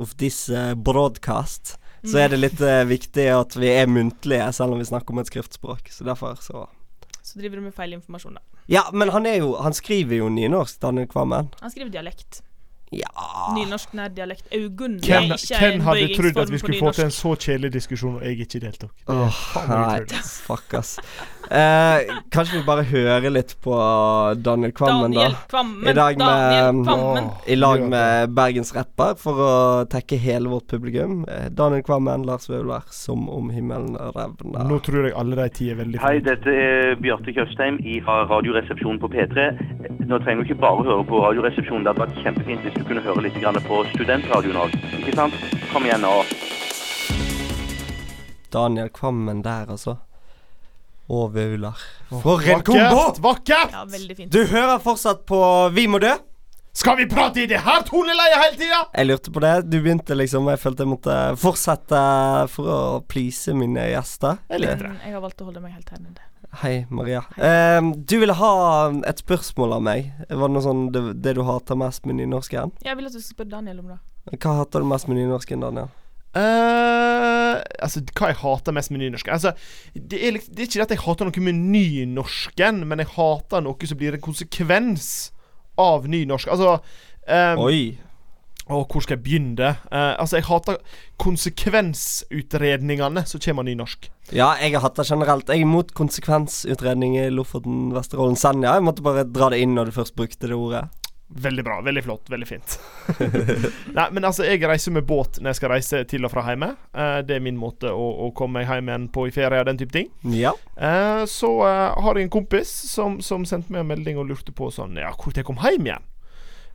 of this eh, broadcast, så er det litt eh, viktig at vi er muntlige, selv om vi snakker om et skriftspråk. Så derfor så Så driver du med feil informasjon, da. Ja, men han er jo Han skriver jo nynorsk, Daniel Kvammen. Han skriver dialekt. Ja Nynorsk nær dialekt. Augun er Hvem, ikke hvem en hadde trodd at bøyingsform vi på skulle få nynorsk. til en så kjedelig diskusjon, og jeg ikke deltok? Det er Åh, faen meg nei, utrolig. fuck, ass. Eh, kanskje vi bare hører litt på Daniel Kvammen, da? Daniel Kvammen. I dag med- um, Daniel Kvammen. Åh, I lag gjør det. med bergensrapper for å tekke hele vårt publikum. Eh, Daniel Kvammen, Lars Vaular, Som om himmelen Nå revner. tror jeg alle de ti er veldig Hei, dette er Bjarte Tjøstheim i Radioresepsjonen på P3. Nå trenger du ikke bare høre på Radioresepsjonen. Det hadde vært kjempefint hvis du kunne høre litt grann på studentradioen òg. Ikke sant? Kom igjen nå. Daniel Kvammen der, altså. Og Vaular. For en Vakkert! kombo! Vakkert! Ja, veldig fint. Du hører fortsatt på Vi må dø. Skal vi prate i det her toneleiet hele tida?! Jeg lurte på det. Du begynte liksom, jeg følte jeg måtte fortsette for å please mine gjester. Eh, Mm, Jeg har valgt å holde meg helt her nede. Hei, Maria. Ehm, du ville ha et spørsmål av meg. Var det noe sånn det, det du hater mest med nynorsken? Jeg vil at du skal spørre Daniel om det. Hva hater du mest med nynorsken, Daniel? Eh, altså, hva jeg hater mest med nynorsken altså, det, er, litt- det er ikke det at jeg hater noe med nynorsken, men jeg hater noe som blir en konsekvens av nynorsk. Altså eh, Oi. Å, hvor skal jeg begynne? Eh, altså, jeg hater konsekvensutredningene som kommer av nynorsk. Ja, jeg har hatt det generelt. Jeg er imot konsekvensutredning i Lofoten, Vesterålen, Senja. Jeg måtte bare dra det inn når du først brukte det ordet. Veldig bra. Veldig flott. Veldig fint. Nei, men altså, jeg reiser med båt når jeg skal reise til og fra hjemme. Eh, det er min måte å, å komme meg hjem igjen på i ferie og den type ting. Ja. Eh, så eh, har jeg en kompis som, som sendte meg en melding og lurte på sånn Ja, hvor jeg kom hjem igjen?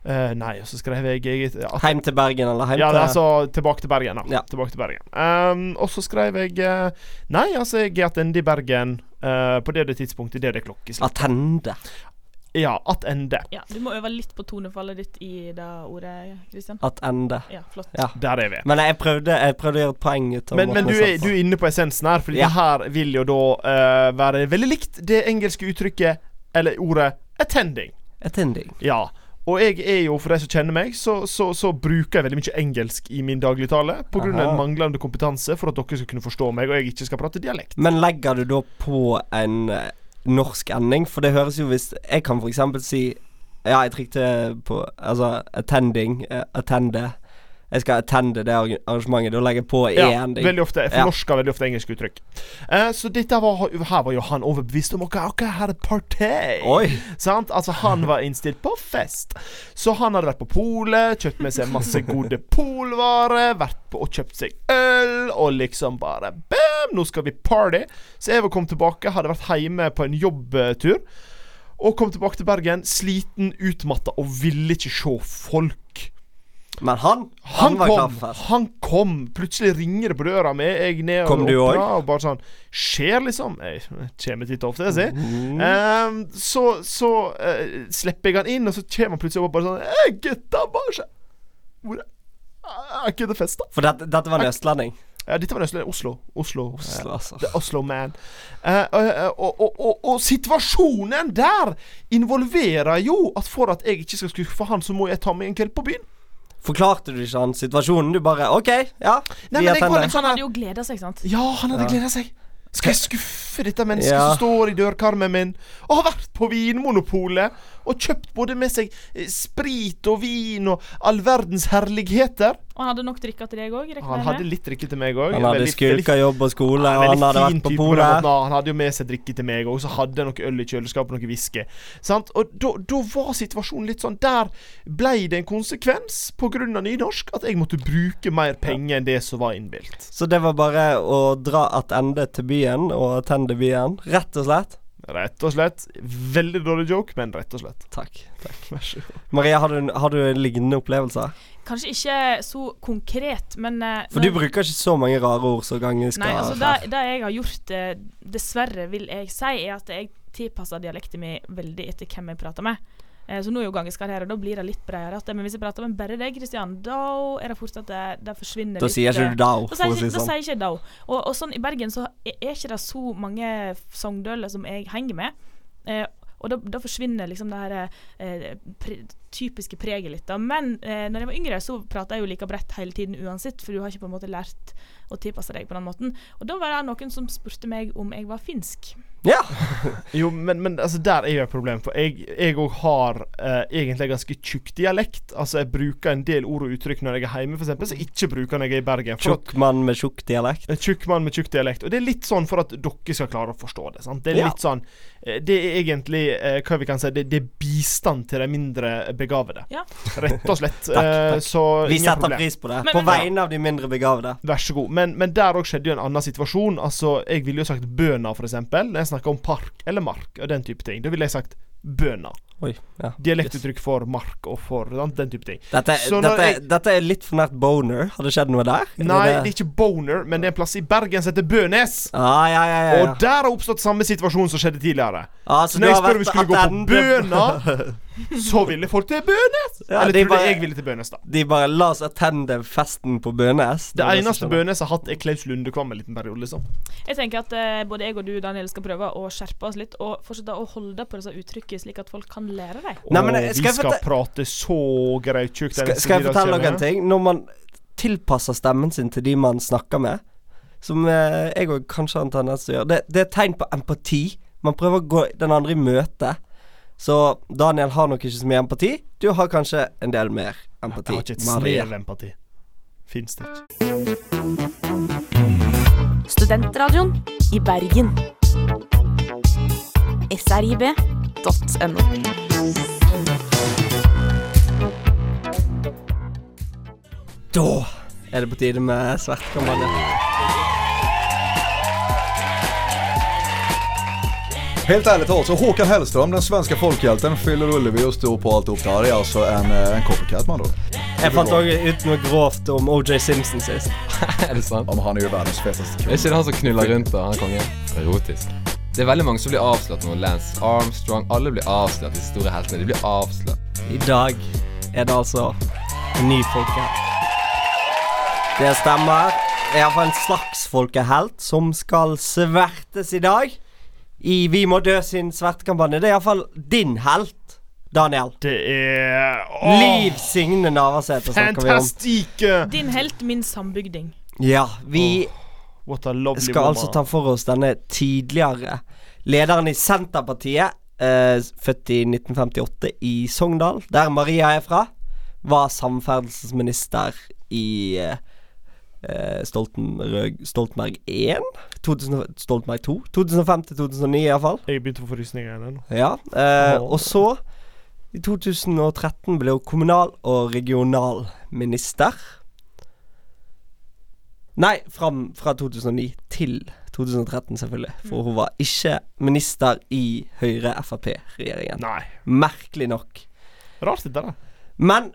Eh, nei, og så skrev jeg, jeg at Heim til Bergen, eller heim Ja, det til er altså tilbake til Bergen, da. Ja. Tilbake til Bergen. Ehm, og så skrev jeg eh, Nei, altså, jeg er attende i Bergen eh, på det og det tidspunktet, det og det klokkeslett. Attende. Ja, attende. Ja, du må øve litt på tonefallet ditt i det ordet, Kristian. Attende. Ja, flott. Ja. Der er vi. Men jeg prøvde, jeg prøvde å gjøre et poeng ut av Men, måten men du, jeg sa er, du det på. er inne på essensen her, for Ja. det her vil jo da eh, være veldig likt det engelske uttrykket, eller ordet, attending. Attending. Ja. Og jeg er jo, for de som kjenner meg, så, så, så bruker jeg veldig mye engelsk i min dagligtale pga. Aha. en manglende kompetanse for at dere skal kunne forstå meg, og jeg ikke skal prate dialekt. Men legger du da på en eh, norsk ending? For det høres jo hvis Jeg kan for eksempel si Ja, jeg trykte på Altså attending. eh, attende. Jeg skal attende det arrange- arrangementet. Da legger jeg på Ja, én. veldig ofte. Ja. Fornorska veldig ofte engelske uttrykk. Eh, så dette var, her var jo han overbevist om at dere hadde party. Oi. Sant? Altså, han var innstilt på fest. Så han hadde vært på polet, kjøpt med seg masse gode polvarer, vært på og kjøpt seg øl, og liksom bare bam, nå skal vi party. Så jeg kom tilbake, hadde vært hjemme på en jobbtur, og kom tilbake til Bergen sliten, utmatta og ville ikke se folk. Men han, han, Han var klar kom, for fest. han kom! Plutselig ringer det på døra mi. Jeg ned Kom og du opp òg? da, og bare sånn Skjer, liksom. Jeg kommer titt og ofte, jeg sier. Ehm, så så eh, slipper jeg han inn, og så kommer han plutselig opp og bare sånn Hei, gutta! Bare skje- Hvor er ikke det fest, da? For dette, dette var en østlending. Ja, dette var nesten Oslo. Oslo. Oslo, Ja, altså. det er Oslo man. Eh, eh, og, og, og, og situasjonen der involverer jo at for at jeg ikke skal skuffe han, så må jeg ta meg en kveld på byen. Forklarte du ikke han situasjonen? Du bare OK, ja. vi Nei, men jeg var attender. litt sånn Han her- hadde jo gleda seg, sant? Ja, han hadde gleda seg. Skal jeg skuffe dette mennesket Ja. som står i dørkarmen min, og har vært på Vinmonopolet og kjøpt både med seg eh, sprit og vin og all verdens herligheter? Og han hadde nok drikker til deg òg, Han regner hadde jeg med? litt drikke til meg òg. Han hadde skulka jobb og skole, og han hadde vært på bordet. Nei, han hadde jo med seg drikke til meg, og så hadde han noe øl i kjøleskapet og noe whisky. Sant? Og da da var situasjonen litt sånn Der ble det en konsekvens pga. nynorsk at jeg måtte bruke mer penger enn det som var innbilt. Så det var bare å dra attende til byen og attende byen, rett og slett. Rett og slett. Veldig dårlig joke, men rett og slett. Takk. Vær så god. Maria, har du, har du lignende opplevelser? Kanskje ikke så konkret, men eh, For du når- bruker ikke så mange rare ord som gangen skal Nei, altså her. det, det jeg har gjort, eh, dessverre vil jeg si, er at jeg tilpasser dialekten min veldig etter hvem jeg prater med. Eh, Så nå er jo gangeskall her, og da blir det litt bredere. At, eh, men hvis jeg prater med bare deg, Kristian, da er det fort at det, det forsvinner Da litt. sier ikke eh, du dao, da for å sier, si det da sånn. sier ikke jeg dao. Og, og sånn i Bergen så er er ikke det så mange sogndøler som jeg henger med. Eh, og da, da forsvinner liksom det her eh, pre, typiske preget litt. da. Men eh, når jeg var yngre, så prata jeg jo like bredt hele tiden uansett, for du har ikke på en måte lært å tilpasse deg på den måten. Og da var det noen som spurte meg om jeg var finsk. Ja. Jo, men, men altså, der er jo et problem, for jeg jeg òg har eh, egentlig ganske tjukk dialekt. Altså, jeg bruker en del ord og uttrykk når jeg er hjemme, for eksempel, som jeg ikke bruker når jeg er i Bergen. For at- Tjukk mann med tjukk dialekt. En tjukk mann med tjukk dialekt. Og det er litt sånn for at dere skal klare å forstå det. sant? Det er Ja. litt sånn eh, Det er egentlig eh, hva vi kan si, det, det er bistand til de mindre begavede. Ja. Rett og slett. Takk, Eh, Så Vi ingen setter problem. pris på det. Men- På men- vegne av de mindre begavede. Vær så god. Men, men der òg skjedde jo en annen situasjon. Altså, Jeg ville jo sagt bøna, for eksempel. Når jeg snakker om park eller mark og den type ting. Da ville jeg sagt bøna. Oi, ja. Dialektuttrykk for mark og for sant, den type ting. Dette, Så når dette, jeg- dette er litt for nært boner. Har det skjedd noe der? Er Nei, det det er ikke boner, men det er en plass i Bergen som heter Bønes. ah, ja, ja, ja, ja. Og der har oppstått samme situasjon som skjedde tidligere. Ah, Så du når jeg har spør om vært vi skulle gå på attende- Bøna, så ville folk til Bønes. Ja, Eller det er trodde bare- jeg ville til Bønes, da. De bare la oss attende festen på Bønes. Det var eneste som skjedde. Bønes har hatt, er Klaus Lundekvam en liten periode, liksom. Jeg tenker at eh, både jeg og du, Daniel, skal prøve å skjerpe oss litt, og fortsette å holde på disse uttrykkene, slik at folk kan lære dem. Nei, men, Åh, skal vi jeg skal fortel- prate så grautjukt. Skal, skal jeg fortelle dere en ting? Når man tilpasser stemmen sin til de man snakker med, som eh, jeg òg kanskje har en tendens til å gjøre, det, det er et tegn på empati. Man prøver å gå den andre i møte. Så Daniel har nok ikke så mye empati. Du har kanskje en del mer Jeg empati. har ikke et Maria. snev empati. Fins det ikke. Studentradioen i Bergen. srib.no. Da er det på tide med svertkampanje. Helt ärligt talat, så Håkan Hellström, den svenska folkhjälten, fyller Ullevi och står på alltihop. Det här är alltså en, eh, en copycat man då. Jeg fant òg ut noe grovt om OJ Simpson sist. Er det sant? Ja, men han är ju världens fetaste Er ikke det han som knuller rundt da, han kongen? Erotisk. Det er veldig mange som blir avslørt nå. Lance Armstrong. Alle blir avslørt, de store heltene. De blir avslørt. I dag er det altså en ny folkehelt. Det stemmer. Det er iallfall en slags folkehelt som skal svertes i dag. I Vi må dø sin svertekampanje. Det er iallfall din helt, Daniel. Det er åh, Liv Signe Navarsete snakker vi om. Fantastique! Din helt, min sambygding. Ja, vi What a lovely skal altså ta for oss denne tidligere lederen i Senterpartiet, eh, født i 1958 i Sogndal, der Maria er fra, var samferdselsminister i eh, eh, Stoltenrøg, Stoltenberg 1? 2000, Stoltenberg 2? 2005 til 2009 iallfall. Jeg begynte å få rysninger igjen ennå. Ja. Eh, Åh. og så, i 2013, ble hun kommunal- og regionalminister. Nei, fram fra 2009 til 2013, selvfølgelig. For hun var ikke minister i Høyre-Frp-regjeringen. Nei. Merkelig nok. Rart dette, da. Men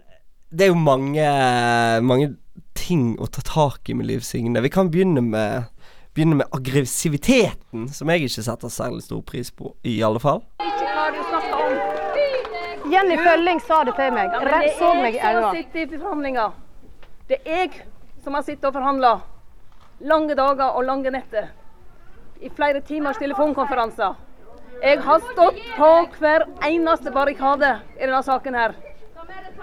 det er jo mange, mange ting å ta tak i med Liv Signe. Vi kan begynne med, begynne med aggressiviteten, som jeg ikke setter særlig stor pris på, i alle fall. Jenny Følling sa det til meg. Rett så meg i som øynene. sitter i forhandlinger. Det er jeg som har sittet og forhandla. Lange dager og lange netter. I flere timers telefonkonferanser. Jeg har stått på hver eneste barrikade i denne saken her.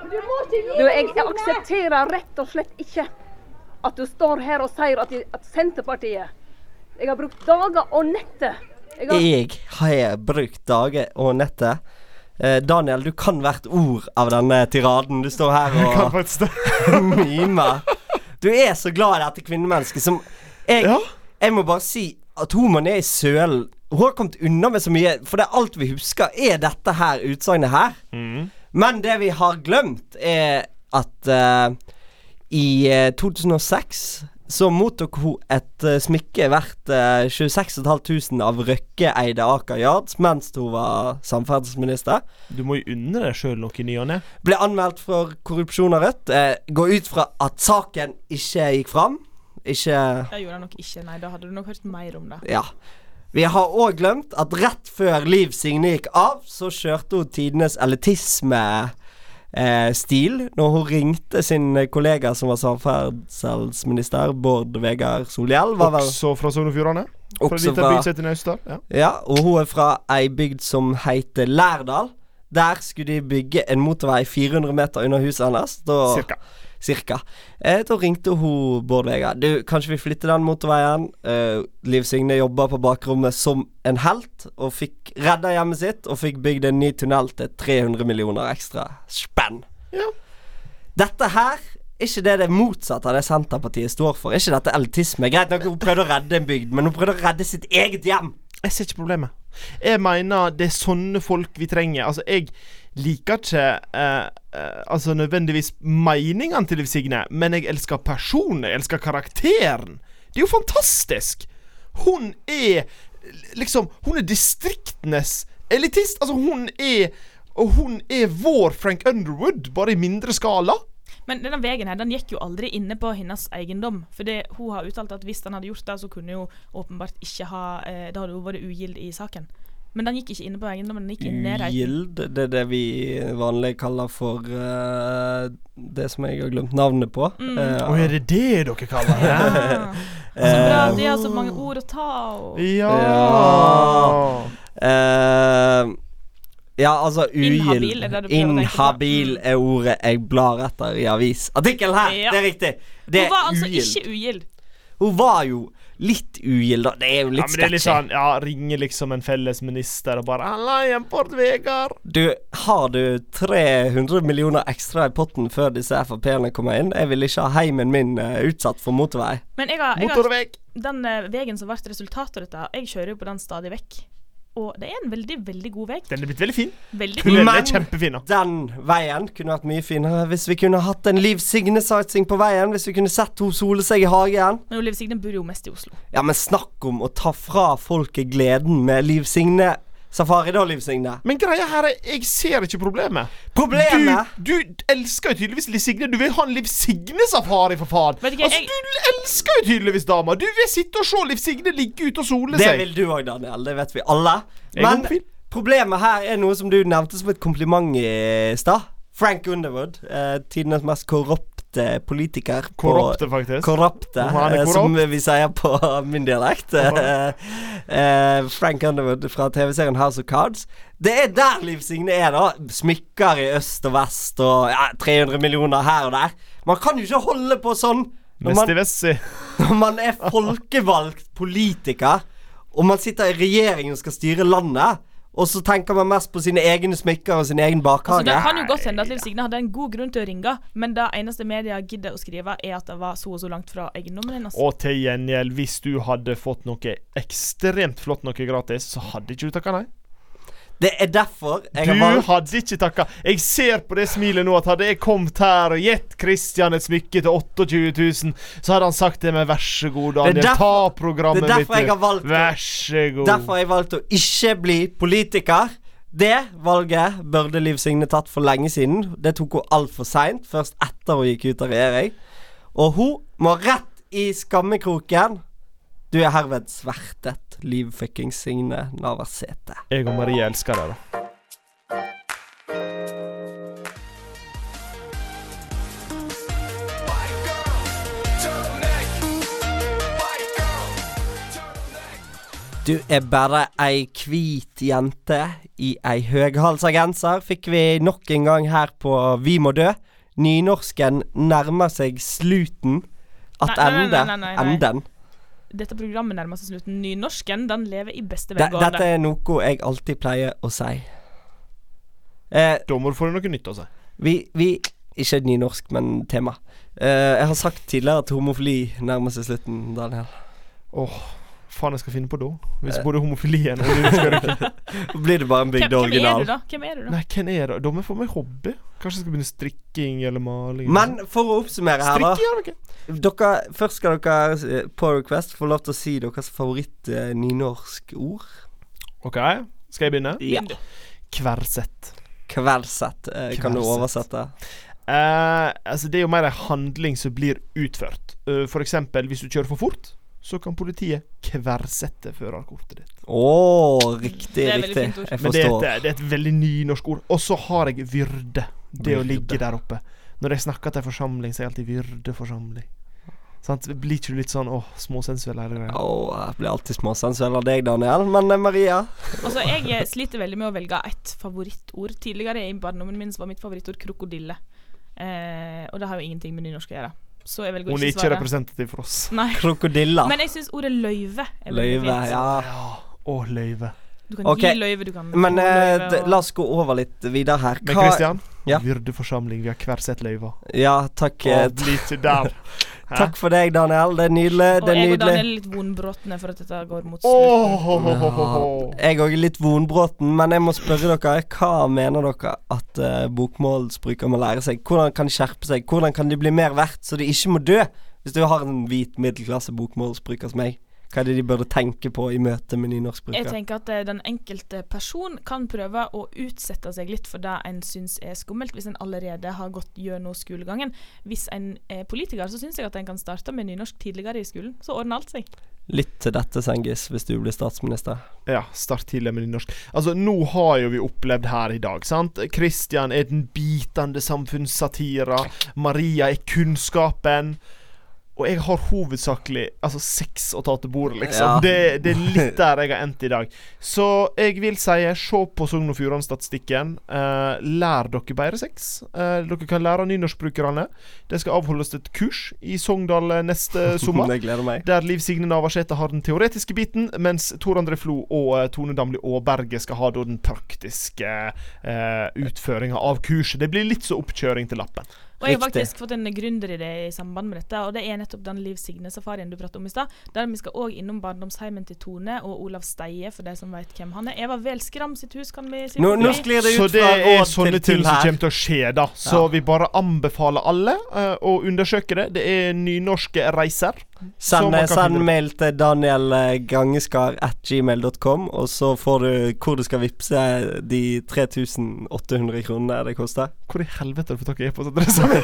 Du, jeg aksepterer rett og slett ikke at du står her og sier at, at Senterpartiet Jeg har brukt dager og netter. Jeg har- Jeg har brukt dager og netter. Eh, Daniel, du kan hvert ord av denne tiraden. Du står her og mimer. Du er så glad i dette kvinnemennesket som jeg, jeg må bare si at hun man er i sølen Hun har kommet unna med så mye, for det er alt vi husker, er dette her utsagnet her. Men det vi har glemt, er at eh, i eh, 2006 så mottok hun et eh, smykke verdt uh, 26.500 av Røkke-eide Aker Yards mens hun var samferdselsminister. Du må jo unne deg sjøl noe i ny og ne. Ble anmeldt for korrupsjon av Rødt. Eh, går ut fra at saken ikke gikk fram. Ikke Det gjorde han nok ikke, nei. Da hadde du nok hørt mer om det. Ja. Vi har òg glemt at rett før Liv Signe gikk av, så kjørte hun tidenes elitisme-stil eh, når hun ringte sin kollega som var samferdselsminister, Bård Vegar Solhjell. var vel- Også fra Sogn og Fjordane. Fra Også en liten fra- bygd som heter Naustdal. Ja. Ja, og hun er fra ei bygd som heter Lærdal. Der skulle de bygge en motorvei 400 meter under huset hennes. Da, Cirka. Cirka. Eh, da ringte hun Bård Vegar. Du, kanskje vi flytter den motorveien? Eh, Liv Signe jobba på bakrommet som en helt, og fikk redda hjemmet sitt, og fikk bygd en ny tunnel til 300 millioner ekstra spenn. Dette her er ikke det det motsatte av det Senterpartiet står for. Er ikke dette elitisme? Greit nok, hun prøvde å redde en bygd, men hun prøvde å redde sitt eget hjem. Jeg ser ikke problemet. Jeg mener det er sånne folk vi trenger. Altså, jeg liker ikke eh, eh, altså nødvendigvis meningene til Liv Signe, men jeg elsker personen. Jeg elsker karakteren. Det er jo fantastisk! Hun er liksom Hun er distriktenes elitist. Altså, hun er Og hun er vår Frank Underwood, bare i mindre skala. Men denne veien her, den gikk jo aldri inne på hennes eiendom. For det, hun har uttalt at hvis han hadde gjort det, så kunne jo åpenbart ikke ha eh, Det hadde jo vært ugild i saken. Men den gikk ikke inne på eiendommen. den gikk inne i nærheten. Ugild, det er det vi vanlig kaller for eh, det som jeg har glemt navnet på. Mm. Eh, Og er det det dere kaller det? Så Ah. Altså, bra, eh, de har så mange ord å ta og ja. Eh, ja, altså ugild Inhabil er det du prøver å tenke på. Inhabil er ordet jeg blar etter i avisartikkelen her! Ja. Det er riktig. Det Hun var er altså ugild. ikke ugild. Hun var jo litt ugild, da. Det er jo Ja, litt men det er litt sketchy. sånn, ja, ringer liksom en felles minister og bare 'Halla igjen, Bård Vegar'. Du, har du 300 millioner ekstra i potten før disse Frp-ene kommer inn? Jeg vil ikke ha heimen min eh, utsatt for motorvei. Men jeg har, jeg har Motorvei. den eh, veien som ble resultatet av dette, jeg kjører jo på den stadig vekk. Og det er en veldig, veldig god vei. Den er blitt veldig fin. Veldig Tunnelen Men- er kjempefin. da. Den veien kunne vært mye finere hvis vi kunne hatt en Liv Signe-satsing på veien. Hvis vi kunne sett henne sole seg i hagen. Men Liv Signe bor jo mest i Oslo. Ja, men snakk om å ta fra folket gleden med Liv Signe. Safari da, Liv Signe. Men greia her er jeg ser ikke problemet. Problemet Du, du elsker jo tydeligvis Liv Signe. Du vil ha en Liv Signe-safari, for faen. Vet ikke, Altså, jeg- Du elsker jo tydeligvis dama. Du vil sitte og se Liv Signe ligge ute og sole Det seg. vil du òg, Daniel. Det vet vi alle. Jeg er Men homofil. problemet her er noe som du nevnte som et kompliment i stad. Frank Underwood, eh, tidenes mest korrupte politiker. på- Korrupte, faktisk. Korrupte, Om han er eh, som korrupt? vi sier på min dialekt. Eh, eh, Frank Underwood fra TV-serien House of Cards. Det er der Liv Signe er, da. Smykker i øst og vest og ja, 300 millioner her og der. Man kan jo ikke holde på sånn når Mest i man, Vessi. når man er folkevalgt politiker, og man sitter i regjering og skal styre landet, og så tenker man mest på sine egne smykker og sin egen Altså, bakhage. det kan jo godt hende at Liv Signe hadde en god grunn til å ringe, men det eneste media gidder å skrive, er at det var så og så langt fra eiendommen hennes. Og til gjengjeld, hvis du hadde fått noe ekstremt flott noe gratis, så hadde ikke du takka nei. Det er derfor jeg har Du valgt hadde ikke takka. Jeg ser på det smilet nå at hadde jeg kommet her og gitt Christian et smykke til 28 000, så hadde han sagt til meg 'vær så god, Det er Daniel, derfor- ta programmet det er derfor mitt'. jeg har valgt det. Vær så god. Derfor har jeg valgt å ikke bli politiker. Det valget burde Liv Signe tatt for lenge siden. Det tok hun altfor seint, først etter hun gikk ut av regjering. Og hun må rett i skammekroken. Du er herved svertet, Liv fuckings Signe Navarsete. Jeg og Marie elsker deg, da. Du er bare ei hvit jente i ei høghalsa genser, fikk vi nok en gang her på Vi må dø. Nynorsken nærmer seg sluten. At Nei, nei, nei, ende. nei, nei, nei. Enden. Dette programmet nærmer seg slutten. Nynorsken den lever i beste De, velgående. dette er noe jeg alltid pleier å si. Eh, da må du få deg noe nytt altså. å si. Vi, vi Ikke nynorsk, men tema. Eh, jeg har sagt tidligere at homofili nærmer seg slutten, Daniel. Åh, faen jeg skal finne på da. Hvis Eh. både homofilien og du skal røyke. Blir det bare en hvem, hvem er du, da? Hvem er du, da? Nei, hvem er det? Da må jeg få meg hobby. Kanskje jeg skal begynne strikking eller maling. Men for å oppsummere her, da. Strikking er det ikke. Dere, først skal dere eh, på request få lov til å si deres eh, favoritt-nynorsk-ord. Ok, skal jeg begynne? Ja. Kversett. Kveldsett. eh, Kan du Kveldsett. oversette? Eh, altså Det er jo mer en handling som blir utført. Eh, for eksempel hvis du kjører for fort, så kan politiet kversette førerkortet ditt. Å, riktig, Det er veldig riktig. fint ord. Jeg Men det er, forstår. et, det er et veldig nynorsk ord. Og så har jeg vyrde. Det å Vyrde. ligge der oppe. Når jeg snakker til forsamling, så er jeg alltid vyrdeforsamling. Sant? Blir ikke du litt sånn åh, småsensuell hele greia? Å, jeg blir alltid småsensuell av deg, Daniel. Men eh, Maria? Altså, jeg eh, sliter veldig med å velge et favorittord. Tidligere i barndommen min så var mitt favorittord krokodille. Eh, og det har jo ingenting med nynorsk å gjøre. Så jeg velger å Hun er ikke ikke svare. representativ for oss. Nei. Krokodilla. Men jeg syns ordet løyve er veldig Løyve, fint. ja. Å, løyve. Du kan Ok, gi løyve, du kan Men få eh, løyve, d- og- la oss gå over litt videre her. Men Kristian, Ja. vyrdeforsamling. Vi har hver sett løyva. Ja, takk. Å, eh, t- bli ikke der. Hæ? Takk for deg, Daniel. Det er nydelig. Og Det er jeg og Daniel nydelig. er litt vonbrotne for at dette går mot slutten. Åh, ho, ho, ho, ho, ho. Jeg òg er litt vonbråten, men jeg må spørre dere. Hva mener dere at eh, bokmålsbrukere må lære seg? Hvordan kan de skjerpe seg? Hvordan kan de bli mer verdt så de ikke må dø? Hvis du har en hvit middelklasse bokmålsbruker som meg, hva er det de burde tenke på i møte med Jeg nynorskbrukere? tenker at eh, den enkelte person kan prøve å utsette seg litt for det en syns er skummelt, hvis en allerede har gått gjennom skolegangen. Hvis en er politiker, så syns jeg at en kan starte med nynorsk tidligere i skolen. Så ordner alt seg. Lytt til dette, Sengis, hvis du blir statsminister. Ja, start tidlig med nynorsk. Altså, nå har jo vi opplevd her i dag, sant? Kristian er den bitende samfunnssatira. Maria er kunnskapen. Og jeg har hovedsakelig altså sex å ta til bordet, liksom. Ja. Det, det er litt der jeg har endt i dag. Så jeg vil si, eh, se på Sogn og Fjordane-statistikken. Eh, lær dere bedre sex. Eh, dere kan lære av nynorskbrukerne. Det skal avholdes et kurs i Sogndal eh, neste sommer. Det gleder meg. Der Liv Signe Navarsete har den teoretiske biten, mens Tor André Flo og eh, Tone Damli Aaberge skal ha da den praktiske eh, utføringa av kurset. Det blir litt så oppkjøring til lappen. Og jeg har Riktig. faktisk fått en gründeridé i samband med dette, og det er nettopp den Liv Signe-safarien du pratet om i stad. Der vi skal òg innom barndomsheimen til Tone og Olav Steie, for de som veit hvem han er. Eva Velskram sitt hus kan vi si. Nå, nå forbi. sklir det Så ut det fra er råd sånne til ting til som her. kommer til å skje, da. Så vi bare anbefaler alle eh, å undersøke det. Det er nynorske reiser. som Send, man kan send finne- mail til danielgangeskar at gmail.com, og så får du hvor du skal vippse de 3800 kronene det koster. Hvor i helvete har du fått tak i e-postadressa mi?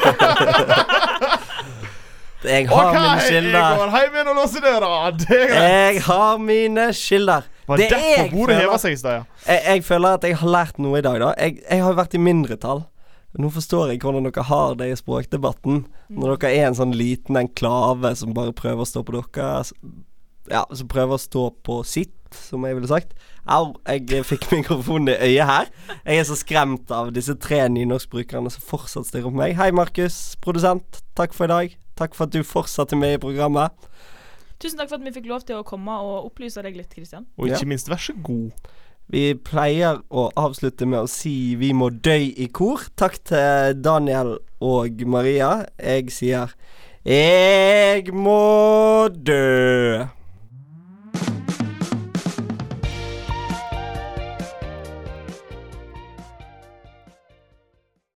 Jeg har OK, mine Eh, jeg kilder. går hjem igjen og låser døra. Det er greit. Jeg har mine kilder. Var derfor jeg bordet heva føler, seg i stad, ja. jeg, jeg føler at jeg har lært noe i dag, da. Jeg, jeg har vært i mindretall. Nå forstår jeg hvordan dere har det i språkdebatten. Når dere er en sånn liten enklave som bare prøver å stå på deres Ja, som prøver å stå på sitt, som jeg ville sagt. Au, jeg fikk mikrofonen i øyet her. Jeg er så skremt av disse tre nynorskbrukerne som fortsatt stirrer på meg. Hei, Markus, produsent. Takk for i dag. Takk for at du fortsatte med i programmet. Tusen takk for at vi fikk lov til å komme og opplyse deg litt, Kristian. Og Ja. ikke minst, vær så god. Vi pleier å avslutte med å si 'Vi må dø i kor'. Takk til Daniel og Maria. Jeg sier 'Jeg må dø'.